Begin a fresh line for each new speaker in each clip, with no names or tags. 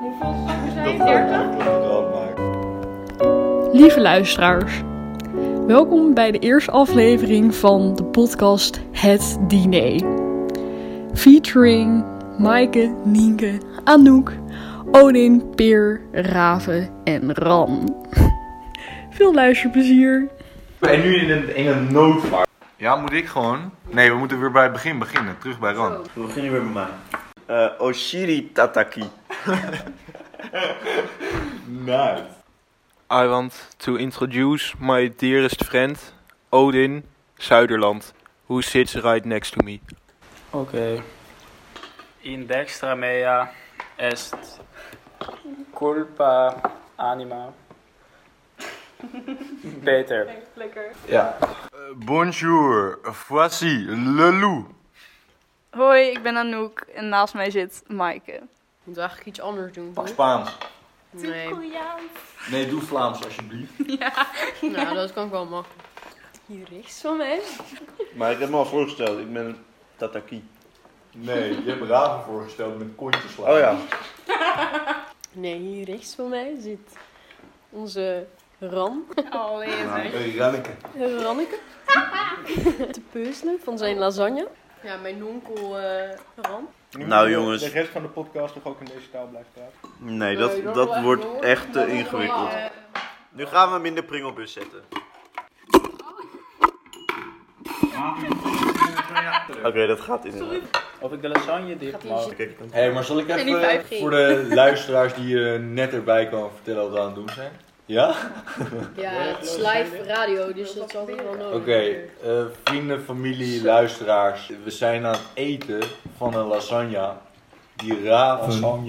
Hoeveel
Dat
stappen zijn
gaat
er?
echt groot maken.
Lieve luisteraars, welkom bij de eerste aflevering van de podcast Het Diner. Featuring Maaike, Nienke, Anouk, Odin, Peer, Raven en Ran. Veel luisterplezier.
En nu in een, in een noodvaart. Ja, moet ik gewoon? Nee, we moeten weer bij het begin beginnen. Terug bij Ran.
We beginnen weer bij mij. Eh, Oshiri Tataki.
Nice.
I want to introduce my dearest friend, Odin Zuiderland, who sits right next to me.
Okay. In dextra mea est culpa anima. Beter.
Lekker.
Bonjour, voici le loup.
Hoi, ik ben Anouk en naast mij zit Maaike.
Moet eigenlijk iets anders doen.
Pak Spaans.
Nee.
Nee, doe Vlaams alsjeblieft.
Nou, dat kan ik wel makkelijk. Hier rechts van mij.
Maar ik heb me al voorgesteld, ik ben Tataki.
Nee, je hebt Raven voorgesteld met kontjeslaan.
Oh ja.
Nee, hier rechts van mij zit onze Ran. eh,
Allee,
Hey, Ranneke.
Ranneke. Te peuzelen van zijn lasagne. Ja, mijn onkel Ran.
Nou, jongens.
De rest van de podcast toch ook in deze taal blijft praten.
Nee, dat, dat wordt echt te ingewikkeld. Nu gaan we hem in de pringelbus zetten. Oké, dat gaat inderdaad.
Of ik de lasagne dicht
die
mag.
zit-
Kijk,
Hé, maar zal ik
En die
even
5G.
voor de luisteraars die eh, net erbij kwamen vertellen wat we aan het doen zijn? Ja?
Ja, het is live radio, dus dat is altijd wel nodig.
Oké, eh, vrienden, familie, luisteraars. We zijn aan het eten van een lasagne. Die raven.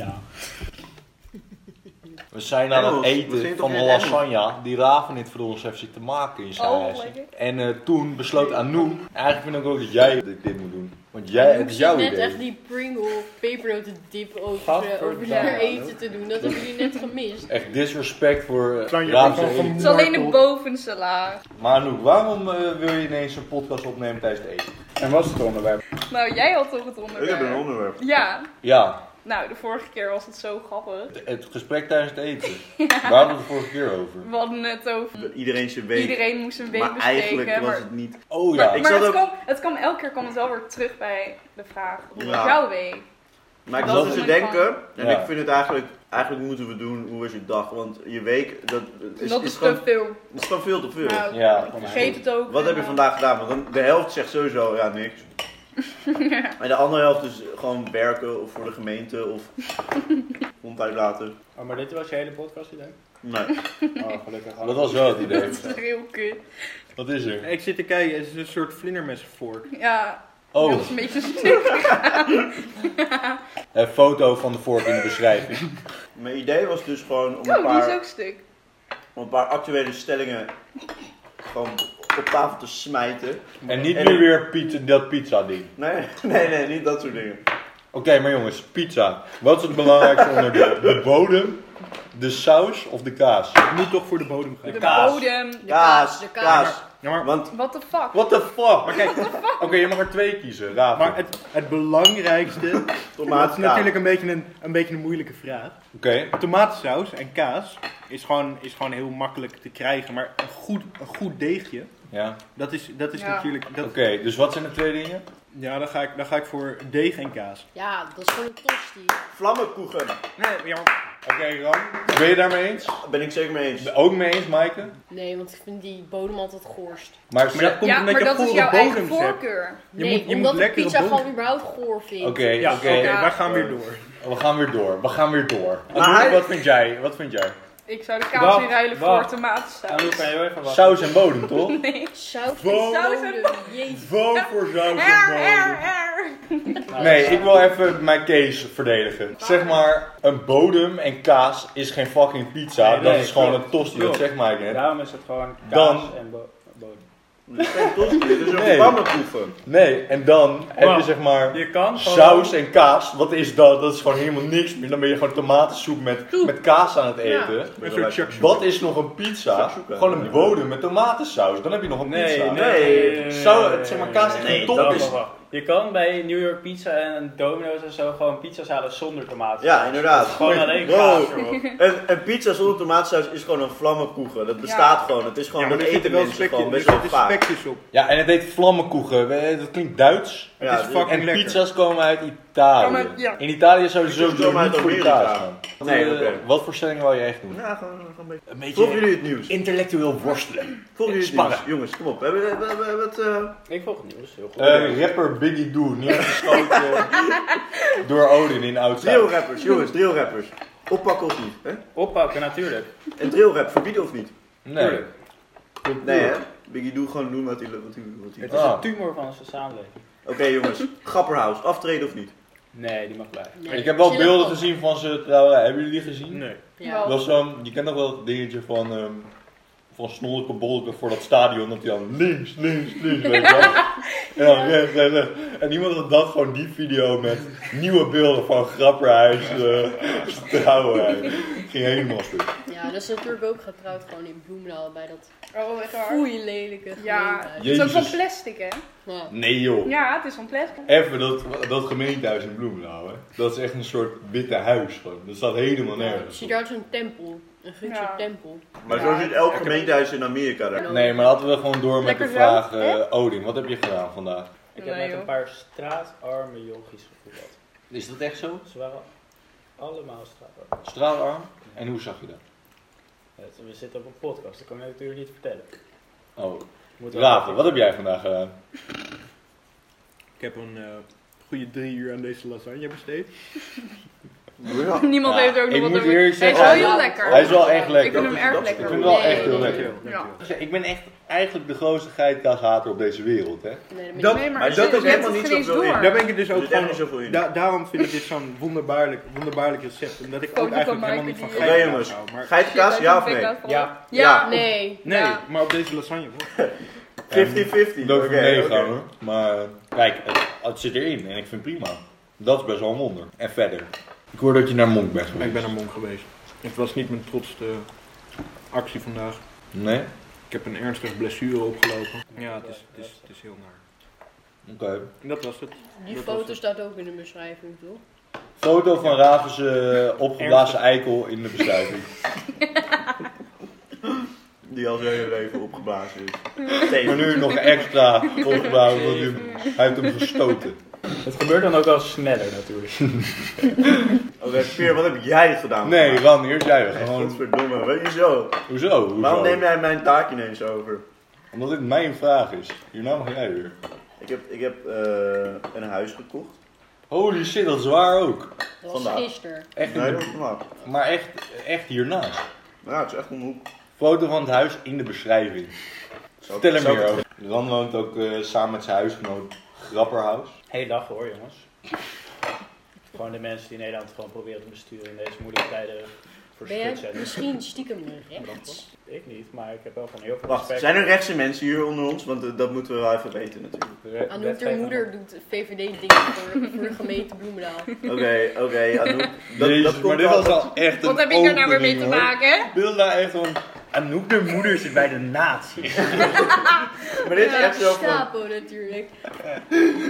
We zijn aan het
Engels, we zijn
eten
toch
van een
in Engels?
lasagne die Raven dit voor ons heeft zitten maken in zijn
Oh,
huis.
lekker.
En eh, toen besloot Anouk, eigenlijk vind ik ook dat jij dit, dit moet doen. Want jij, het is jouw
net
idee.
echt die Pringle pepernoten dip over,
Gadverdamme.
over naar eten te doen. Dat hebben jullie net gemist.
Echt disrespect voor eh, Raven's eten.
Het is alleen de bovenste laag.
Maar Anouk, waarom eh, wil je ineens een podcast opnemen tijdens het eten?
En was het onderwerp?
Nou, jij had toch
ik
het
heb een
onderwerp?
onderwerp.
Ja.
Ja,
Nou, de vorige keer was het zo grappig.
het, het gesprek tijdens het eten. Waar hadden we het vorige keer over?
We hadden het over...
Iedereen zijn week.
Iedereen moest een week
maar eigenlijk
bespreken.
was
Maar,
het niet.
Oh ja,
maar,
Ik
maar
zat
het,
ook-
kwam, het kwam elke keer kwam het wel weer terug bij de vraag. Hoe was
Ja.
jouw week?
Maar ik
Dat
zat
is
dus te
mijn
denken, en
Ja.
ik vind het eigenlijk, eigenlijk moeten we doen, hoe was je dag? Want je week, dat is,
Dat
is
is
gewoon,
te veel.
is gewoon veel te veel.
Nou,
ja.
ik vergeet het ook.
Wat heb je vandaag gedaan? Want dan, de helft zegt sowieso ja niks. En de andere helft is gewoon werken of voor de gemeente of hond uitlaten.
Oh, maar dit was je hele podcast idee?
Nee.
Oh, gelukkig.
Dat was wel het
Dat
idee.
is heel kut.
Wat is er?
Ik zit te kijken, het is een soort vlindermessenvork.
Ja,
Oh,
dat is een beetje stuk.
een foto van de vork in de beschrijving.
Mijn idee was dus gewoon om een
Oh, die
paar,
is ook stuk.
om een paar actuele stellingen gewoon op tafel te smijten.
En niet
En-
nu weer pizza, dat pizza ding.
Nee, nee, nee, niet dat soort dingen.
Oké, maar jongens, pizza. Wat is het belangrijkste onderdeel? De bodem, de saus of de kaas?
Het moet toch voor de bodem gaan.
De
kaas.
bodem.
Kaas,
de
kaas.
Ja, maar,
Want
What the fuck?
What the fuck? Oké,
kijk,
je mag er twee kiezen, Raven.
maar het, het belangrijkste, dat is
tomaatkaas.
natuurlijk een beetje een, een beetje een moeilijke vraag.
Oké,
Tomatensaus en kaas is gewoon, is gewoon heel makkelijk te krijgen, maar een goed, een goed deegje,
ja.
dat is, dat is
Ja.
natuurlijk...
Oké,
Dat,
dus wat zijn de twee dingen?
Ja, dan ga, ik, dan ga ik voor deeg en kaas.
Ja, dat is gewoon een tosti.
Vlammenkoegen,
Nee, ja, maar
Oké, Ram. Ben je daarmee eens?
ben ik zeker mee eens.
Ook mee eens, Maaike?
Nee, want ik vind die bodem altijd goorst.
Maar,
Maar dat komt
Ja,
omdat
maar
je
dat is
gore
jouw eigen
bodems hebt.
voorkeur.
Je
nee,
moet- je
omdat
moet
ik
lekkere
pizza
bodem-
gewoon überhaupt goor vind.
Oké,
Ja,
oké.
oké,
Ja.
wij gaan weer door.
We gaan weer door. We gaan weer door.
Maar
Anouk,
hij-
wat vind jij? Wat vind jij?
Ik zou de kaas
Wacht,
in ruilen voor
wacht.
tomatensaus.
Anouk, kan je even wachten?
Saus en bodem, toch?
Nee.
Saus
Wow.
bodem. Jezus.
Vote voor saus
Er, er, er.
Nou,
Nee, ik wil even mijn case verdedigen. Zeg maar, een bodem en kaas is geen fucking pizza.
Nee,
dat
nee,
is gewoon
klopt.
een tosti, dat
Klopt.
zeg maar net.
Daarom is het gewoon kaas
Dan-
en bo- bodem.
Dit is geen tosti, dit is
Nee.
een vlammenkoegen.
Nee, en dan heb je
Wow.
zeg maar
Je kan gewoon...
saus en kaas. Wat is dat? Dat is gewoon helemaal niks meer. Dan ben je gewoon tomatensoep met, met kaas aan het eten.
Een soort shakshuka.
Wat is nog een pizza?
Shakshuka.
Gewoon een bodem met tomatensaus. Dan heb je nog een
Nee,
pizza.
nee.
Zou het, zeg maar, kaas is
Nee,
een top
dat
is.
wacht, wacht. Je kan bij New York Pizza en Domino's en zo gewoon pizza's halen zonder tomaten.
Ja, inderdaad.
Gewoon alleen
Wow.
kaas erop.
Een, een pizza zonder tomaatsaus is gewoon een vlammenkoegen. Dat bestaat gewoon. Het is gewoon, dat Oh, eten mensen gewoon best wel vaak.
spekjes op.
Ja, en het heet vlammenkoegen. We- Dat klinkt Duits.
Ja,
het is
dus-
fucking
En
lekker.
pizza's komen uit Italië.
Ja, maar- ja.
In Italië zouden ze
Pizza's
sowieso
komen
niet
uit
voor je
Amerika.
kaas gaan.
Nee,
Eh,
oké.
Wat voor stelling wil je echt doen?
Ja, gewoon, gewoon een beetje.
Een
Volgen
beetje
jullie het nieuws?
intellectueel worstelen.
Volgen jullie het
Spannen.
nieuws? Jongens, kom op. We hebben, we hebben, we hebben het... eh,
Ik volg het nieuws, heel goed.
Eh, rapper Biggie Doo, neergeschoten eh, door Odin in Oudside.
Drillrappers, jongens, drillrappers. Oppakken of niet? Hè?
Oppakken, natuurlijk.
Een drillrap verbieden of niet?
Nee.
Nee, hè? Biggie, doe gewoon doen wat hij wat hij- wat hij-
Het is
Ah.
een tumor van onze samenleving.
Oké, jongens. Grapperhaus, aftreden of niet?
Nee, die mag blijven.
Ik heb wel beelden gezien van ze trouwen. Hebben jullie die gezien?
Nee.
Ja.
Dat is zo'n, je kent nog wel het dingetje van, ehm van snolke bolken voor dat stadion, dat hij dan links, links, links, weet je wel. En dan rechts, rechts, rechts. En iemand had dat gewoon die video met nieuwe beelden van Grapperhuis, eh trouwen. Ging helemaal stuk.
ja, dat is natuurlijk ook getrouwd gewoon in Bloemendaal bij dat
Oh, echt waar.
foei lelijke
Ja,
gemeentehuis.
het is ook van
Jezus.
plastic, hè?
Ja.
Nee joh.
Ja, het is van plastic.
Even dat, dat gemeentehuis in Bloemendaal, hè. Dat is echt een soort witte huis gewoon. Dat staat helemaal
Het
nergens.
ziet
op.
eruit als een tempel. Een Griekse
Ja.
tempel.
Maar
Ja.
zo zit elk gemeentehuis in Amerika daar.
Nee, maar laten we gewoon door met
Lekker
de
zo,
vraag, eh,
hè?
Odin, wat heb je gedaan vandaag?
Ik
Nee,
heb met
joh.
een paar straatarme jonkies gevoetbald.
Is dat echt zo?
Ze waren allemaal straatarm.
Straalarm? En hoe zag je dat?
We zitten op een podcast, dat kan ik natuurlijk niet vertellen.
Oh,
Moet wel-
Raven, wat heb jij vandaag gedaan?
Ik heb een eh, goede drie uur aan deze lasagne besteed.
Ja.
Niemand
Ja,
heeft ook
ik
nog wat
moet
over. Hij
eerlijk
is wel
zeggen,
heel
hij-
lekker.
Hij is wel echt
Ik
lekker.
vind hem erg lekker.
Ik vind hem wel echt heel
Nee.
lekker.
Ja.
Ik ben echt eigenlijk de grootste geitkaashater op deze wereld, hè?
Nee, dat
Dat-
ben
Nee, maar,
Maar
je
dat
zet-
is
je zet
helemaal
het
niet
geen
zo in.
door.
Daar ben ik het dus ook
Er zit echt niet
gewoon...
zoveel in.
Da- daarom vind ik dit zo'n wonderbaarlijk, wonderbaarlijk recept. Omdat ik
Foto
ook
van
eigenlijk helemaal
Maaike
niet van
die-
geiten
Oké, jongens.
Oh,
hou. Maar,
Geitenkaas, ja of nee?
Ja.
Ja.
Ja.
ik- Nee.
nee,
Ja.
maar op deze lasagne wel.
50-50.
Leuk voor
Oké,
meegaan,
oké.
hoor. Maar eh, kijk, het, het zit erin en ik vind het prima. Dat is best wel een wonder. En verder. Ik hoor dat je naar Monk bent
Maar
geweest.
ik ben een monk geweest. Het was niet mijn trotste actie vandaag.
Nee?
Ik heb een ernstige blessure opgelopen. Ja, het is, het is, het is heel naar.
Oké.
En dat was het.
Die
Dat was
foto
het.
staat ook in de beschrijving, toch?
Foto van Raven's eh, opgeblazen eikel in de beschrijving.
Die al zijn hele leven opgeblazen is.
Maar nu nog extra opgeblazen, want nu- hij heeft hem gestoten.
Het gebeurt dan ook wel sneller natuurlijk.
Oké, oh, Peer, wat heb jij gedaan? Ah,
Nee, Ran, eerst jij. We gaan Gewoon,
Godverdomme, weet je zo.
hoezo? hoezo?
Waarom neem jij mijn taak ineens over?
Omdat dit mijn vraag is. Hierna mag jij weer.
Ik heb, ik heb eh, een huis gekocht.
Holy shit, dat is waar ook.
Dat was
Vandaag.
gisteren.
Echt in
Nee,
de-
dat is normaal.
maar echt, echt hiernaast.
Ja, het is echt om de hoek.
Foto van het huis in de beschrijving.
Zou-
Vertel hem
zou ik
meer over. Ran woont ook eh, samen met zijn huisgenoot Grapperhaus.
Hey, dag hoor jongens. Gewoon de mensen die Nederland gewoon proberen te besturen in deze moeilijke tijden voor
Ben
schut
jij
zetten.
misschien stiekem rechts?
Ik niet, maar ik heb wel van heel veel
Wacht,
respect.
zijn er rechtse mensen hier onder ons? Want eh, dat moeten we wel even weten natuurlijk.
Re-
Anouk, ter
wetgeving.
moeder doet VVD-dingen voor, voor de gemeente Bloemendaal.
Oké, oké, Anouk. Dat,
Jezus,
dat
maar
komt
dit
wel.
was al echt een
Wat heb ik er nou weer mee
opening,
te
hoor.
maken?
Dit was nou echt van... Anouk de moeder zit bij de nazi.
Maar dit is
Ja,
echt zo van...
Stapo natuurlijk.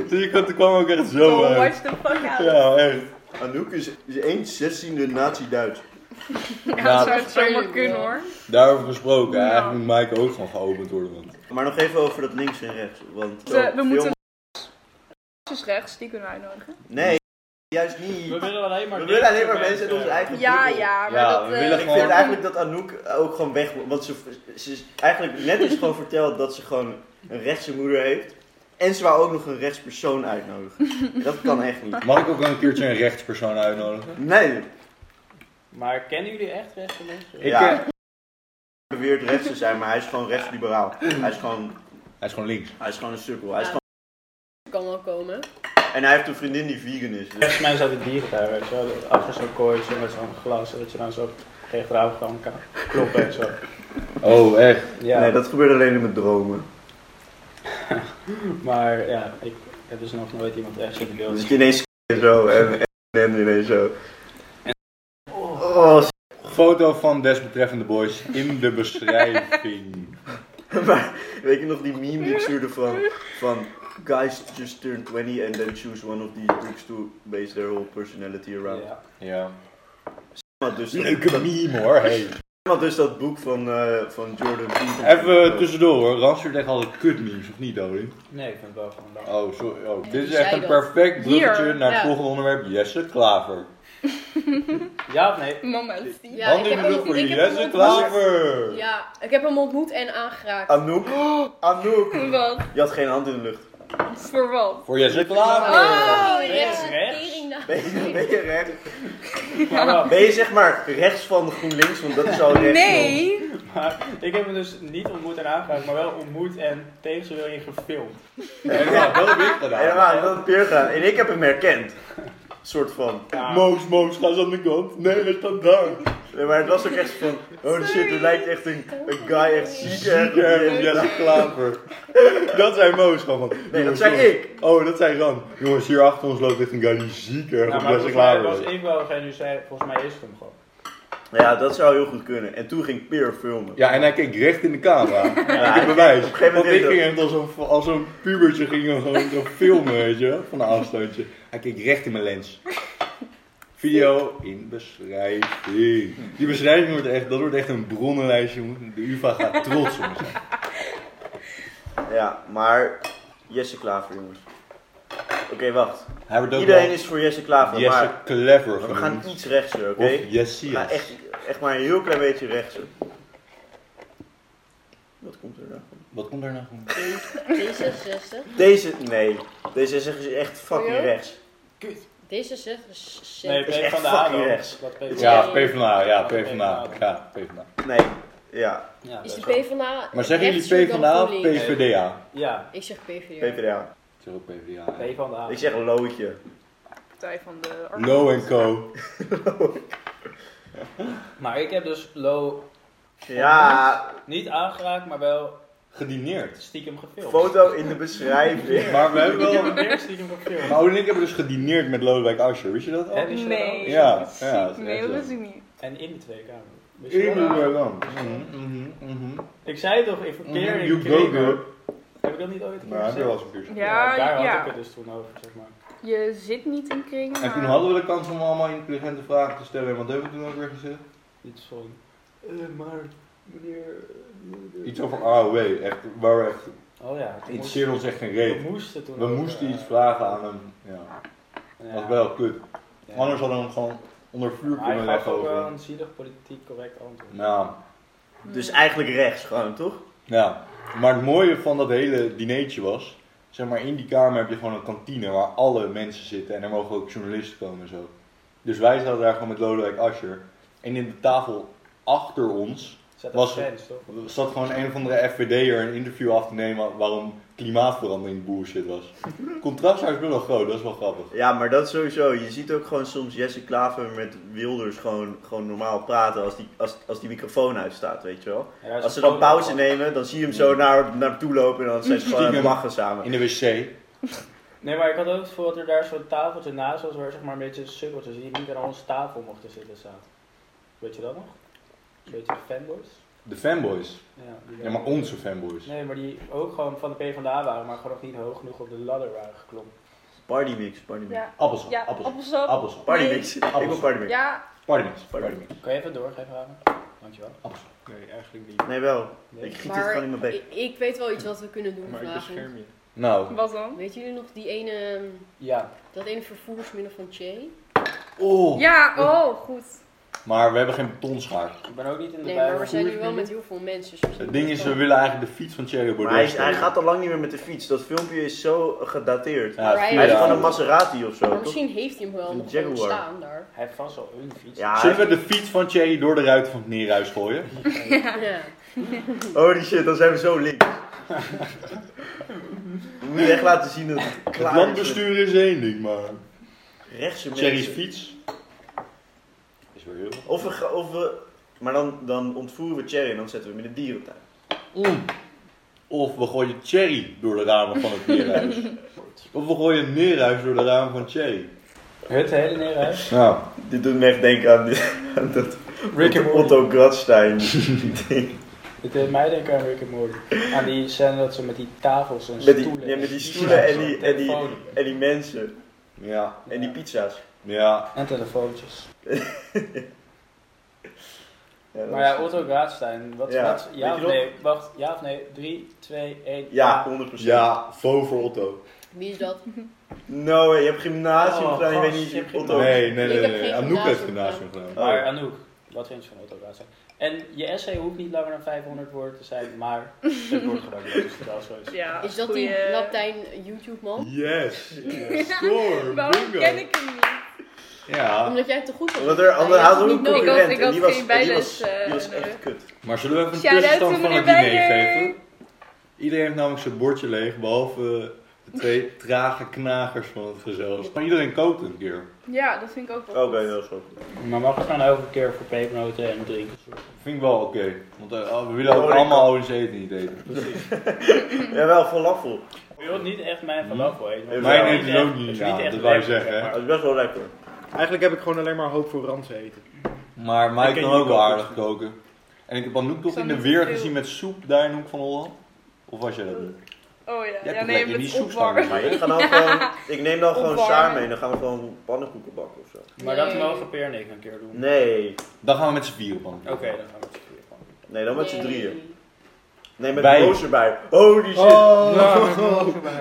Die kant kwam ook echt zo
Oh,
uit.
watch the fuck out.
Ja, echt.
Anouk is, is 1 16e nazi-Duits.
Ja,
Nou,
dat zou het zomaar kunnen
Ja.
hoor.
Daarover gesproken,
Ja.
eigenlijk moet Mike ook gewoon geopend worden. Want...
Maar nog even over dat links en rechts. Want
We-
zo,
we
veel-
moeten- Dus rechts, die kunnen we uitnodigen.
Nee, juist niet.
We
Oh.
willen alleen maar,
We willen alleen maar
dikke
mensen in onze eigen
Ja,
bubbel.
ja, maar
Ja,
dat...
we
eh,
willen
Ik
Gewoon-
vind eigenlijk dat Anouk ook gewoon weg moet. Want ze, ze is eigenlijk net is gewoon verteld dat ze gewoon een rechtse moeder heeft. En ze wou ook nog een rechtspersoon uitnodigen. Dat kan echt niet.
Mag ik ook wel een keertje een rechtspersoon uitnodigen?
Nee,
Maar kennen jullie echt rechtse mensen?
Ik,
Ja.
eh,
beweert rechts te zijn, maar hij is gewoon rechtsliberaal. Hij is gewoon,
Hij is gewoon links.
hij is gewoon een sukkel. Hij is
Ja.
gewoon...
Kan wel komen.
En hij heeft een vriendin die vegan is. Dus...
Volgens mij zaten dieren daar, weet je wel. Achter zo'n kooi, zo met zo'n glas, dat je dan zo tegen de avond gewoon kan kloppen en zo.
Oh, echt?
Ja,
Nee, dat gebeurt alleen in mijn dromen.
maar ja, ik heb dus nog nooit iemand echt zien
Dan
beeld.
zit je ineens en zo en, en ineens zo. Oh, s-
Foto van desbetreffende boys in de beschrijving.
maar weet je nog die meme die ik stuurde van, van guys just turn 20 and then choose one of these books to base their whole personality around.
Ja.
Ja.
Maar dus dat,
Leuke meme hoor, hey.
maar dus dat boek van, eh, van Jordan Peterson. Eh,
Even tussendoor hoor, Randstad legt altijd kut memes, of niet Dodin?
Nee, ik vind het wel gewoon leuk.
Oh, sorry. Oh.
Ja,
Dit is
die
echt
zei
een
dat.
perfect bruggetje
Hier,
naar het
ja.
volgende onderwerp, Jesse Klaver.
Ja of nee?
Mama is die.
Ja,
Hand
ik
in
heb
de lucht
ook-
voor
ik heb
Jesse
hem
Klaver!
Ja, ik heb hem ontmoet en aangeraakt.
Anouk. Anouk.
Wat?
Je had geen hand in de lucht.
Voor wat?
Voor Jesse Klaver!
Oh,
Ben je
yes.
rechts?
Teringnaam.
Ben je, ben je rechts?
Maar wacht,
Ben je zeg maar rechts van GroenLinks? Want dat is al rechts.
Nee!
maar ik heb hem dus niet ontmoet en aangeraakt, maar wel ontmoet en tegen zijn wil in gefilmd.
Ja, dat heb ik gedaan.
Helemaal, dat had Peer gaan. En ik heb hem herkend. soort van.
Ja.
Moos, Moos, ga eens aan de kant. Nee, hij staat daar.
Nee, maar het was ook echt van. Oh shit, er lijkt echt een, een guy echt ziek erg op
Kerm
je.
Jesse Klaver. Dat zijn Moos gewoon. van,
Nee, dat
jongens,
zei
jongens.
ik.
Oh, dat zijn Ran. Jongens, hier achter ons loopt echt een guy die ziek erg
Nou,
op
maar
Jesse
volgens mij
Klaver
was
is.
ik wel degene die zei, volgens mij is het hem gewoon.
Nou Ja, dat zou heel goed kunnen. En toen ging Peer filmen.
Ja, en hij keek recht in de camera.
Ja,
ik heb bewijs.
op een gegeven moment
Want ik
deed
ging echt als een, als een pubertje ging hem gewoon zo filmen, weet je, van een afstandje. Hij keek recht in mijn lens. Video in beschrijving. Die beschrijving wordt echt, dat wordt echt een bronnenlijst, jongen. De UvA gaat trots op me zijn.
Ja, maar Jesse Klaver, jongens. Oké, wacht.
Hij wordt ook
Iedereen
wel
is voor Jesse Klaver,
Jesse
maar
Clever
we gaan
genoemd.
iets rechtser, oké?
Of
We gaan
Jessias.
echt, echt maar een heel klein beetje rechtser. Wat komt er nou?
Wat komt daarna?
D66.
Deze, nee. Deze is echt fucking
Voor jou?
rechts.
D66.
Nee,
is
P
echt
van de
fucking
ADO.
rechts.
Dat P van de
Ja,
ADO.
PvdA, ja, PvdA. Ja, PvdA.
Nee, ja,
Ja,
Is
best
de
wel.
PvdA
Maar zeggen jullie
rechtser dan
PvdA of
GroenLinks?
PvdA?
Ja,
Ik zeg PvdA.
PvdA.
Ik zeg ook PvdA.
P van de ADO.
Ik zeg loodje.
Partij van de
Low en Co.
Maar ik heb dus Lo
Ja,
niet aangeraakt, maar wel
Gedineerd.
stiekem gefilmd.
foto in de beschrijving.
Maar we hebben
Ik heb
wel...
hem weer stiekem gefilmd.
Maar Oud en ik hebben dus gedineerd met Lodewijk Asscher, wist je dat al?
Heb je
Nee.
wel?
Ja, ja, dat is
Nee,
echt
dat is
zo.
ik niet.
En in de Tweede Kamer. Wist je
Ik
dat?
ben er dan. Mhm, mhm, mhm.
Ik zei toch, ik verkeer
You
in
go,
Kremer.
girl.
Heb ik dat niet ooit een keer
Nou, heb je
gezegd?
wel eens een keer gezegd.
Ja,
daar
ja.
had ik het dus toen over, zeg maar.
Je zit niet in kringen.
En toen
maar-
hadden we de kans om allemaal intelligente vragen te stellen. En wat hebben we toen ook weer gezegd?
Iets van, eh, maar meneer... eh,
Iets over AOW, echt, waar we echt...
Oh ja, toen moest-
Interesseerde ons echt geen
we
reet.
moesten toen
We
ook,
moesten
eh,
iets vragen aan hem. Ja,
ja.
dat was wel kut.
Ja.
Anders hadden we hem gewoon onder vuur
Maar hij
kunnen
gaf
leggen
ook wel
over.
een zielig politiek correct antwoord.
Nou,
Dus eigenlijk rechts gewoon, toch?
Ja, maar het mooie van dat hele dinertje was, zeg maar in die kamer heb je gewoon een kantine waar alle mensen zitten en er mogen ook journalisten komen en zo. Dus wij zaten daar gewoon met Lodewijk Asscher en in de tafel achter ons
Zet
Was-
was grens, toch?
zat gewoon een of andere FVD'er een interview af te nemen waarom klimaatverandering bullshit was. Contrast daar is wel groot, dat is wel grappig.
Ja, maar dat sowieso. Je ziet ook gewoon soms Jesse Klaver met Wilders gewoon, gewoon normaal praten als die, als, als die microfoon uitstaat, weet je wel.
Ja, daar is
Als ze
een
dan
foto
pauze
van.
nemen, dan zie je hem zo naar, naar hem toe lopen en dan zijn ze gewoon aan het
Stiekem.
lachen samen.
In de wc.
Nee, maar ik had ook het gevoel dat er daar zo'n tafeltje naast was waar zeg maar een beetje sukkeltjes die niet aan onze tafel mochten zitten zaten. Weet je dat nog? Een beetje de fanboys.
De fanboys.
Ja, die
Ja, maar onze fanboys.
Nee, maar die ook gewoon van de PvdA waren, maar gewoon nog niet hoog genoeg op de ladder waren geklommen.
Party mix, party mix.
Ja,
Appelsap,
ja
appelsap,
appelsap.
appelsap.
Party
Nee.
mix. Ik wil party mix.
Ja,
Partymix, partymix.
Kan je even doorgeven, Raven? Dankjewel.
Nee, eigenlijk niet.
Nee, wel.
Nee?
Ik giet dit
Maar
gewoon in mijn bek.
ik, ik weet wel iets wat we kunnen doen
Maar ik
vanavond.
bescherm je.
Nou.
wat dan?
Weet jullie nog die ene,
Ja.
dat ene vervoersmiddel van Che?
Oh.
Ja, oh, goed.
Maar we hebben geen betonschaar.
Ik ben ook niet in de
Nee,
bui-
maar we zijn nu wel met heel veel mensen. dus misschien
Het ding is, we
wel-
willen eigenlijk de fiets van Thierry Baudet.
Maar hij, is- hij
stelen.
gaat al lang niet meer met de fiets. Dat filmpje is zo gedateerd.
Ja,
Hij
Hij
vier
is
jaar.
gewoon een Maserati of
Maar
zo, toch?
misschien heeft hij hem wel
Een
nog gewoon
Jaguar.
staan daar.
Hij heeft vast wel een fiets.
Ja, hij-
Zullen we de fiets van Thierry door de ruit van het neerhuis gooien?
Ja.
Holy shit, dan zijn we zo links. We moeten echt laten zien dat het
Het
klaar is.
landbestuur is één ding, maar...
Rechtse
Thierry's
mensen.
fiets... Is weer heel...
Of we, ga- of we... Maar dan, dan ontvoeren we Cherry en dan zetten we hem in de dierentuin.
Mm. Of we gooien Thierry door de ramen van het neerhuis. of we gooien het neerhuis door de ramen van Thierry.
Het hele neerhuis.
Nou,
Dit doet me echt denken aan, die- aan dat
Rick
Otto Gradstein. ding.
Het deed mij denken aan Rick and Morty. Aan die scène dat ze met die tafels en
Met die-
stoelen...
ja, met die
en
stoelen en
en
die- en die-
telefoon-
En die mensen.
Ja,
En die
Ja.
pizza's.
ja.
En telefoontjes.
Ja, dat
Maar ja,
is-
Otto Graatstein, wat,
Ja.
wat, ja
Weet
of
je nog?
nee, wacht, ja of nee, 3, 2, 1,
ja, 100%.
Ja, faux voor Otto.
Wie is dat?
No, je hebt gymnasium
Oh,
gedaan, je
gast,
weet niet
je hebt
je Otto.
gymnasium.
Nee, nee, nee.
Ik heb
nee.
geen
Anouk heeft
gymnasium
gymnasium
Oh,
gedaan.
Maar Anouk, wat vind je van Otto Graatstein? En je essay hoeft niet langer dan 500 woorden te zijn, maar het wordt gewaardeerd, dus het is wel zo.
Ja,
Is dat die
goeie-
Latijn YouTube-man?
Yes! Score!
Waarom
bingo.
ken ik hem niet?
Ja,
Omdat jij het te goed hebt.
Want er
Hij
andere
heeft
hadden
het
ook een
niet nodig.
concurrent.
Ik had- ik
en die
had
was, en die was,
geen bijles,
die
eh,
was echt
nodig.
kut.
maar zullen we even een
Shout-out
tussenstand
to
van het
meneer
diner
Beijer.
geven? Iedereen heeft namelijk zijn bordje leeg, behalve eh, de twee trage knagers van het gezelschap. Maar iedereen kookt een keer.
Ja, dat vind ik ook wel
Oh,
Oké,
goed.
dat is goed.
Maar mag ik dan elke keer voor pepernoten en drinken?
Vind ik wel oké. Want eh, we willen ook
Oh, ik-
allemaal ouders eten niet eten.
Jawel, falafel.
Je wilt niet echt mijn falafel eten. want
Hm. Mijn
het is
eten is ook
echt-
niet,
het is
ja,
echt
dat wou je
lekker,
zeggen, hè.
maar-
Dat is best wel lekker.
Eigenlijk heb ik gewoon alleen maar hoop voor Rans eten.
Maar
Ik
Mike
ken
kan
jullie
ook wel
ook
aardig
goed.
koken. En ik heb Anouk toch
zal
in de
niet
weer
veel-
gezien met soep daar in Hoek van Holland? Of was jij dat niet?
Oh ja,
Jij
ja
hebt
nee,
lekker die
met
soep staan.
opwarmen.
Maar ik, ga dan gewoon, ik neem dan gewoon
Opwarmen.
saar mee en dan gaan we gewoon pannenkoeken bakken of zo.
Maar dat
Nee.
mogen Per en ik een keer doen.
Nee,
Dan gaan we met z'n vieren op een
Oké, dan gaan we het weer gewoon doen.
nee dan met z'n
Nee.
drieën. Nee, met
Bij.
broos erbij. Oh, die shit.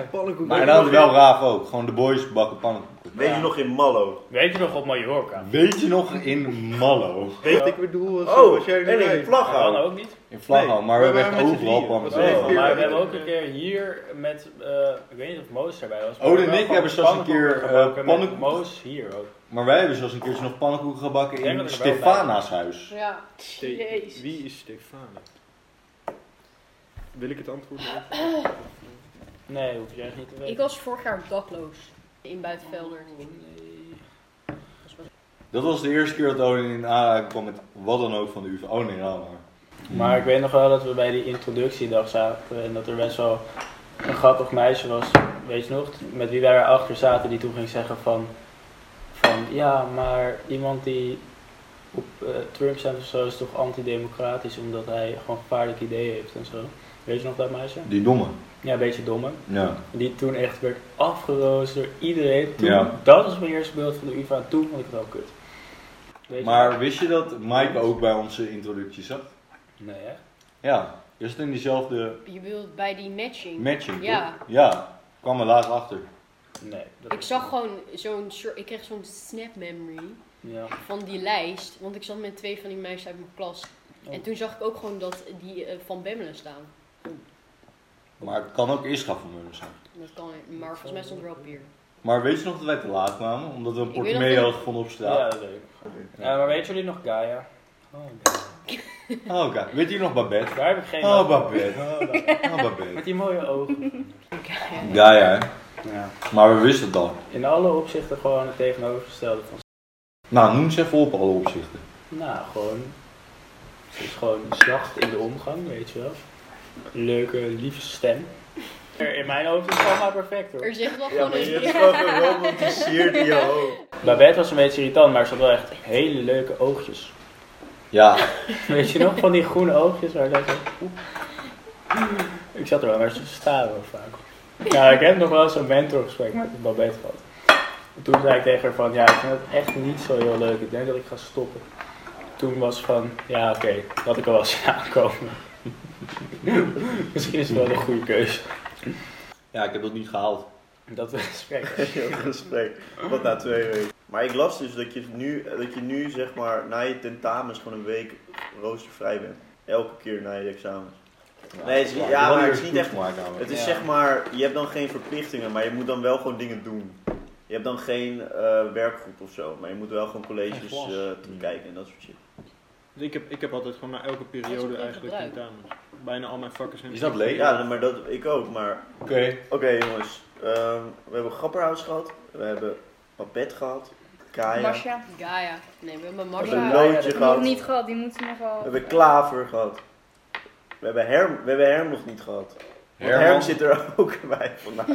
Pannenkoeken.
Maar dan hadden we wel raaf ook. Gewoon de boys bakken pannenkoeken.
Weet je nog in Mallo?
Weet je nog op Mallorca?
Weet je nog in Mallo?
Weet ik bedoel, zo
Oh,
als jij nu
en in
weet.
Dan
Vlaghout.
ook niet.
In Vlaggen,
Nee,
maar we hebben
we
echt
waren met z'n
overal
drieën.
pannen.
Dat is
Oh,
echt
maar
keer-
we hebben ook een keer hier met, eh, ik weet niet of Moos erbij was. maar
Ode
we
en
wel
ik
gewoon
hebben zelfs een keer,
pannenkoeken
eh,
gebakken met
pannenkoeken-
Moos hier ook.
Maar wij hebben zelfs een keertje nog pannenkoeken gebakken
Ik denk
in
dat er wel
Stefana's huis.
Ja.
Jezus.
Wie is Stefane? Wil ik het antwoord even?
Nee, hoef je echt niet te weten.
Ik was vorig jaar dakloos. In Buitenvelder.
Dat was de eerste keer dat Odin in aanraking kwam met wat dan ook van de UvA. Oh nee, nou maar.
Maar ik weet nog wel dat we bij die introductiedag zaten en dat er best wel een grappig meisje was, weet je nog, met wie wij erachter zaten, die toen ging zeggen van, van ja, maar iemand die op eh, Trump stemt of zo is toch antidemocratisch omdat hij gewoon gevaarlijk ideeën heeft en zo. Weet je nog dat meisje?
Die domme.
Ja, een beetje domme.
Ja.
Die toen echt werd afgerozen door iedereen. Toen,
Ja.
Dat was mijn eerste beeld van de UvA. Toen vond ik het wel kut. Weet je nog?
Maar wist je dat Mike ook bij onze introductie zat?
Nee, hè?
Ja. Is het in diezelfde
Je bedoelt bij die matching.
matching?
Ja.
toch? Ja. Kwam er laatst achter.
Nee. dat-
Ik zag gewoon zo'n soort- ik kreeg zo'n snap memory
Ja.
van die lijst, want ik zat met twee van die meisjes uit mijn klas. En
Oh.
toen zag ik ook gewoon dat die eh, van Bemmelen staan.
Maar het kan ook Isra van Mullen zijn.
Dat kan, maar volgens mij stond er wel bier.
Maar weet je nog dat wij te laat kwamen? Omdat we een
Ik weet
portemonnee
nog-
hadden gevonden op straat.
Ja, dat weet ik. Eh, maar weten jullie nog Gaia? Oh, Gaia.
Oh, oké. Weet je nog Babette?
Daar heb ik geen
Oh,
last
Babette.
van. Oh, Gaia.
Oh, Babette.
Met die mooie ogen.
Ja, ja.
Ja.
Maar we wisten het al.
In alle opzichten gewoon het tegenovergestelde van...
Nou, noem ze even op alle opzichten.
Nou, gewoon... Ze is gewoon zacht in de omgang, weet je wel. Leuke, lieve stem. In mijn ogen is het allemaal perfect hoor.
Er zit wel
Ja,
gewoon
maar je
een
hebt gewoon geromantiseerd in je hoofd.
Babette was een beetje irritant, maar ze had wel echt hele leuke oogjes.
Ja,
Weet je nog, van die groene oogjes waar dat... Oeh. Ik zat er wel naar te staren hoor, vaak. Ja, ik heb nog wel zo'n mentorgesprek met Babette gehad. En Toen zei ik tegen haar van, ja, ik vind het echt niet zo heel leuk. Ik denk dat ik ga stoppen. Toen was ze van, ja oké, dat had ik al wel zien aankomen. Misschien is het wel een goede keuze.
ja ik heb dat niet gehaald.
Dat we gesprek.
Heel gesprek. Wat na twee weken. Maar ik las dus dat je nu, dat je nu zeg maar na je tentamens gewoon een week roostervrij bent. Elke keer na je examens. Nee, het is niet- ja, maar het is niet echt- Het is
Ja.
zeg maar, je hebt dan geen verplichtingen, maar je moet dan wel gewoon dingen doen. Je hebt dan geen eh, werkgroep of zo, maar je moet wel gewoon
Geen
colleges
klas.
eh bekijken en dat soort shit.
Ik heb, ik heb altijd gewoon na elke
Hij is ook
periode
in
eigenlijk
gebruik.
tentamens. Bijna al mijn vakken zijn...
Is dat leeg?
Ja, maar dat, ik ook, maar...
Oké.
Oké jongens, ehm, we hebben Grapperhaus gehad, we hebben Babette gehad,
Ah,
Kaya, we
Masha.
Gaia. Nee, we hebben
hebben
Marcia.
Leuk.
Lootje
Nog
gehad,
niet gehad, die moeten nog
we
wel...
hebben Klaver gehad. We hebben Herm, we hebben Herm nog niet gehad. Want
Herman.
Herm zit er ook bij vandaag.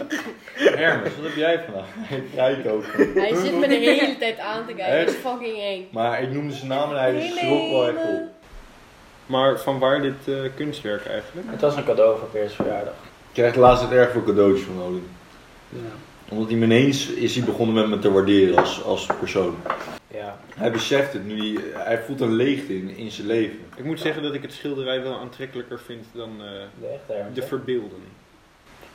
Hermes, wat heb jij vandaag? Ik kijk ook.
Hij zit me de hele tijd aan te kijken. Dat is fucking eng.
Maar ik noemde zijn naam en hij schrok wel echt op.
Maar van waar dit eh, kunstwerk eigenlijk?
Het was een cadeau voor Peers verjaardag.
Ik krijg laatst het erg veel cadeautjes van Odin.
Ja.
Omdat hij me ineens is hij begonnen met me te waarderen als, als persoon.
ja.
Hij beseft het nu, hij, hij voelt een leegte in, in zijn leven.
Ik moet zeggen dat ik het schilderij wel aantrekkelijker vind dan eh,
De echte Hermes,
de
hè?
verbeelding.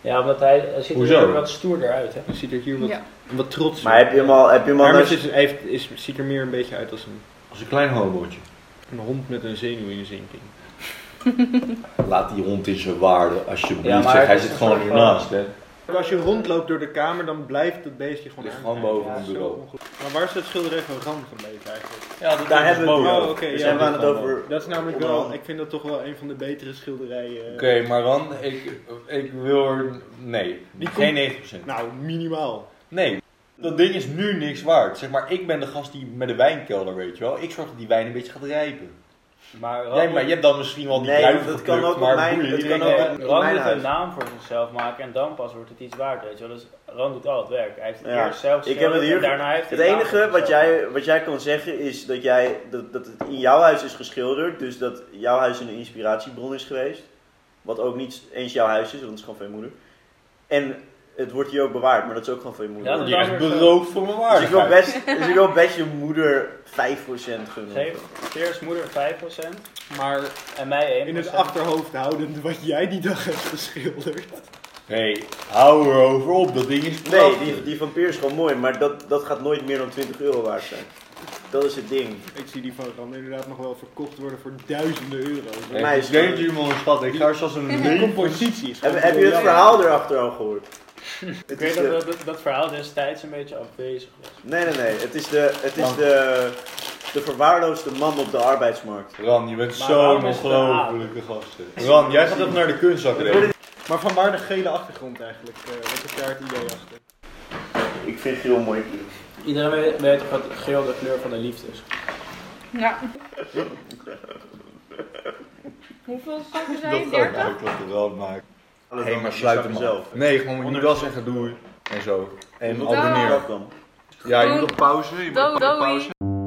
Ja, omdat hij, hij ziet er
Hoezo?
weer wat stoerder uit, hè?
Dan ziet er hier wat,
Ja.
wat trots
Maar heb je hem al, heb je hem al
Hermes
naar-
is, hij heeft, is, ziet er meer een beetje uit als een,
Als een klein homootje.
een hond met een zenuwinzinking.
Laat die hond in zijn waarde, alsjeblieft.
Ja, maar
zeg. Hij
het is
zit
een
gewoon
soort
hiernaast, hè.
Als je rondloopt door de kamer, dan blijft dat beestje gewoon
Ligt
aan.
gewoon boven
Ja,
mijn
zo
bureau.
ongelooflijk. Maar waar is dat schilderij van Rand gebleven eigenlijk?
Ja, dat
Daar hebben we het
boven.
nu.
Oh, oké,
Daar
ja,
zijn we
dit
aan het
gaan we.
over.
Dat is namelijk
Onderhand.
wel, ik vind dat toch wel een van de betere schilderijen. eh.
Oké, maar dan, ik, ik wil er... Nee,
Die
geen 90%.
Nou, minimaal.
Nee. Dat ding is nu niks waard. Zeg maar, ik ben de gast die met de wijnkelder, weet je wel. Ik zorg dat die wijn een beetje gaat rijpen.
Maar
Jij, maar je hebt dan misschien wel die
Nee,
druif
dat kan
geplukt,
ook op
maar
mijn-
boeien.
dat
Ik
kan
denk,
ook-
eh,
in
Ran
mijn
moet een
huis.
naam voor zichzelf maken en dan pas wordt het iets waard, weet je wel. Dus Ran doet al het werk. Hij heeft het
Ja.
eerst zelf
Ik heb
geschilderd
het hier-
en daarna heeft hij
Het
een naam voor
enige wat
zichzelf.
jij, wat jij kan zeggen is dat, jij, dat, dat het in jouw huis is geschilderd. Dus dat jouw huis een inspiratiebron is geweest. Wat ook niet eens jouw huis is, want het is gewoon van je moeder. En het wordt hier ook bewaard, maar dat is ook gewoon van je moeder.
Ja, dat
Die is
weer zo.
beroofd voor mijn
dus, ik wil
waardigheid.
best, dus ik wil best je moeder 5% gunnen.
Geef Peers moeder 5%
Maar
en mij 1%.
in het achterhoofd houdend wat jij die dag hebt geschilderd.
Hé, hey, hou erover op. Dat ding is
Nee,
prachtig.
die, die van Peer is gewoon mooi, maar dat, dat gaat nooit meer dan 20 euro waard zijn. Dat is het ding.
Ik zie die van Rand inderdaad nog wel verkocht worden voor duizenden euro's.
Hey,
mij is
ik weet
het-
jullie man schat. Ik ga er zelfs een
De
leven
compositie is
Heb,
gewoon
heb je het
briljant.
verhaal erachter al gehoord? Het
Ik weet
is
dat,
de-
dat, dat, dat verhaal destijds een beetje afwezig was.
Nee, nee, nee. Het is de, het is de, de verwaarloosde man op de arbeidsmarkt.
Ran, je bent
Maar
zo'n
waarom is het een
ongelofelijke gasten. Ran, jij gaat even naar de kunstacademie.
Maar vanwaar de gele achtergrond eigenlijk? eh, wat is daar het idee achter?
Ik vind het heel mooi.
Iedereen weet, weet toch wat geel de kleur van de liefde is.
Ja.
Hoeveel zakken
Dat
zijn?
gaat ik
30?
dat de Ran maken.
Hé,
Hé, maar sluit hem af. Nee, gewoon je moet wel zeggen doei. En zo. En
Ja.
abonneer. Ja, je moet op pauze. Je moet
Doei,
op
doei.
pauze.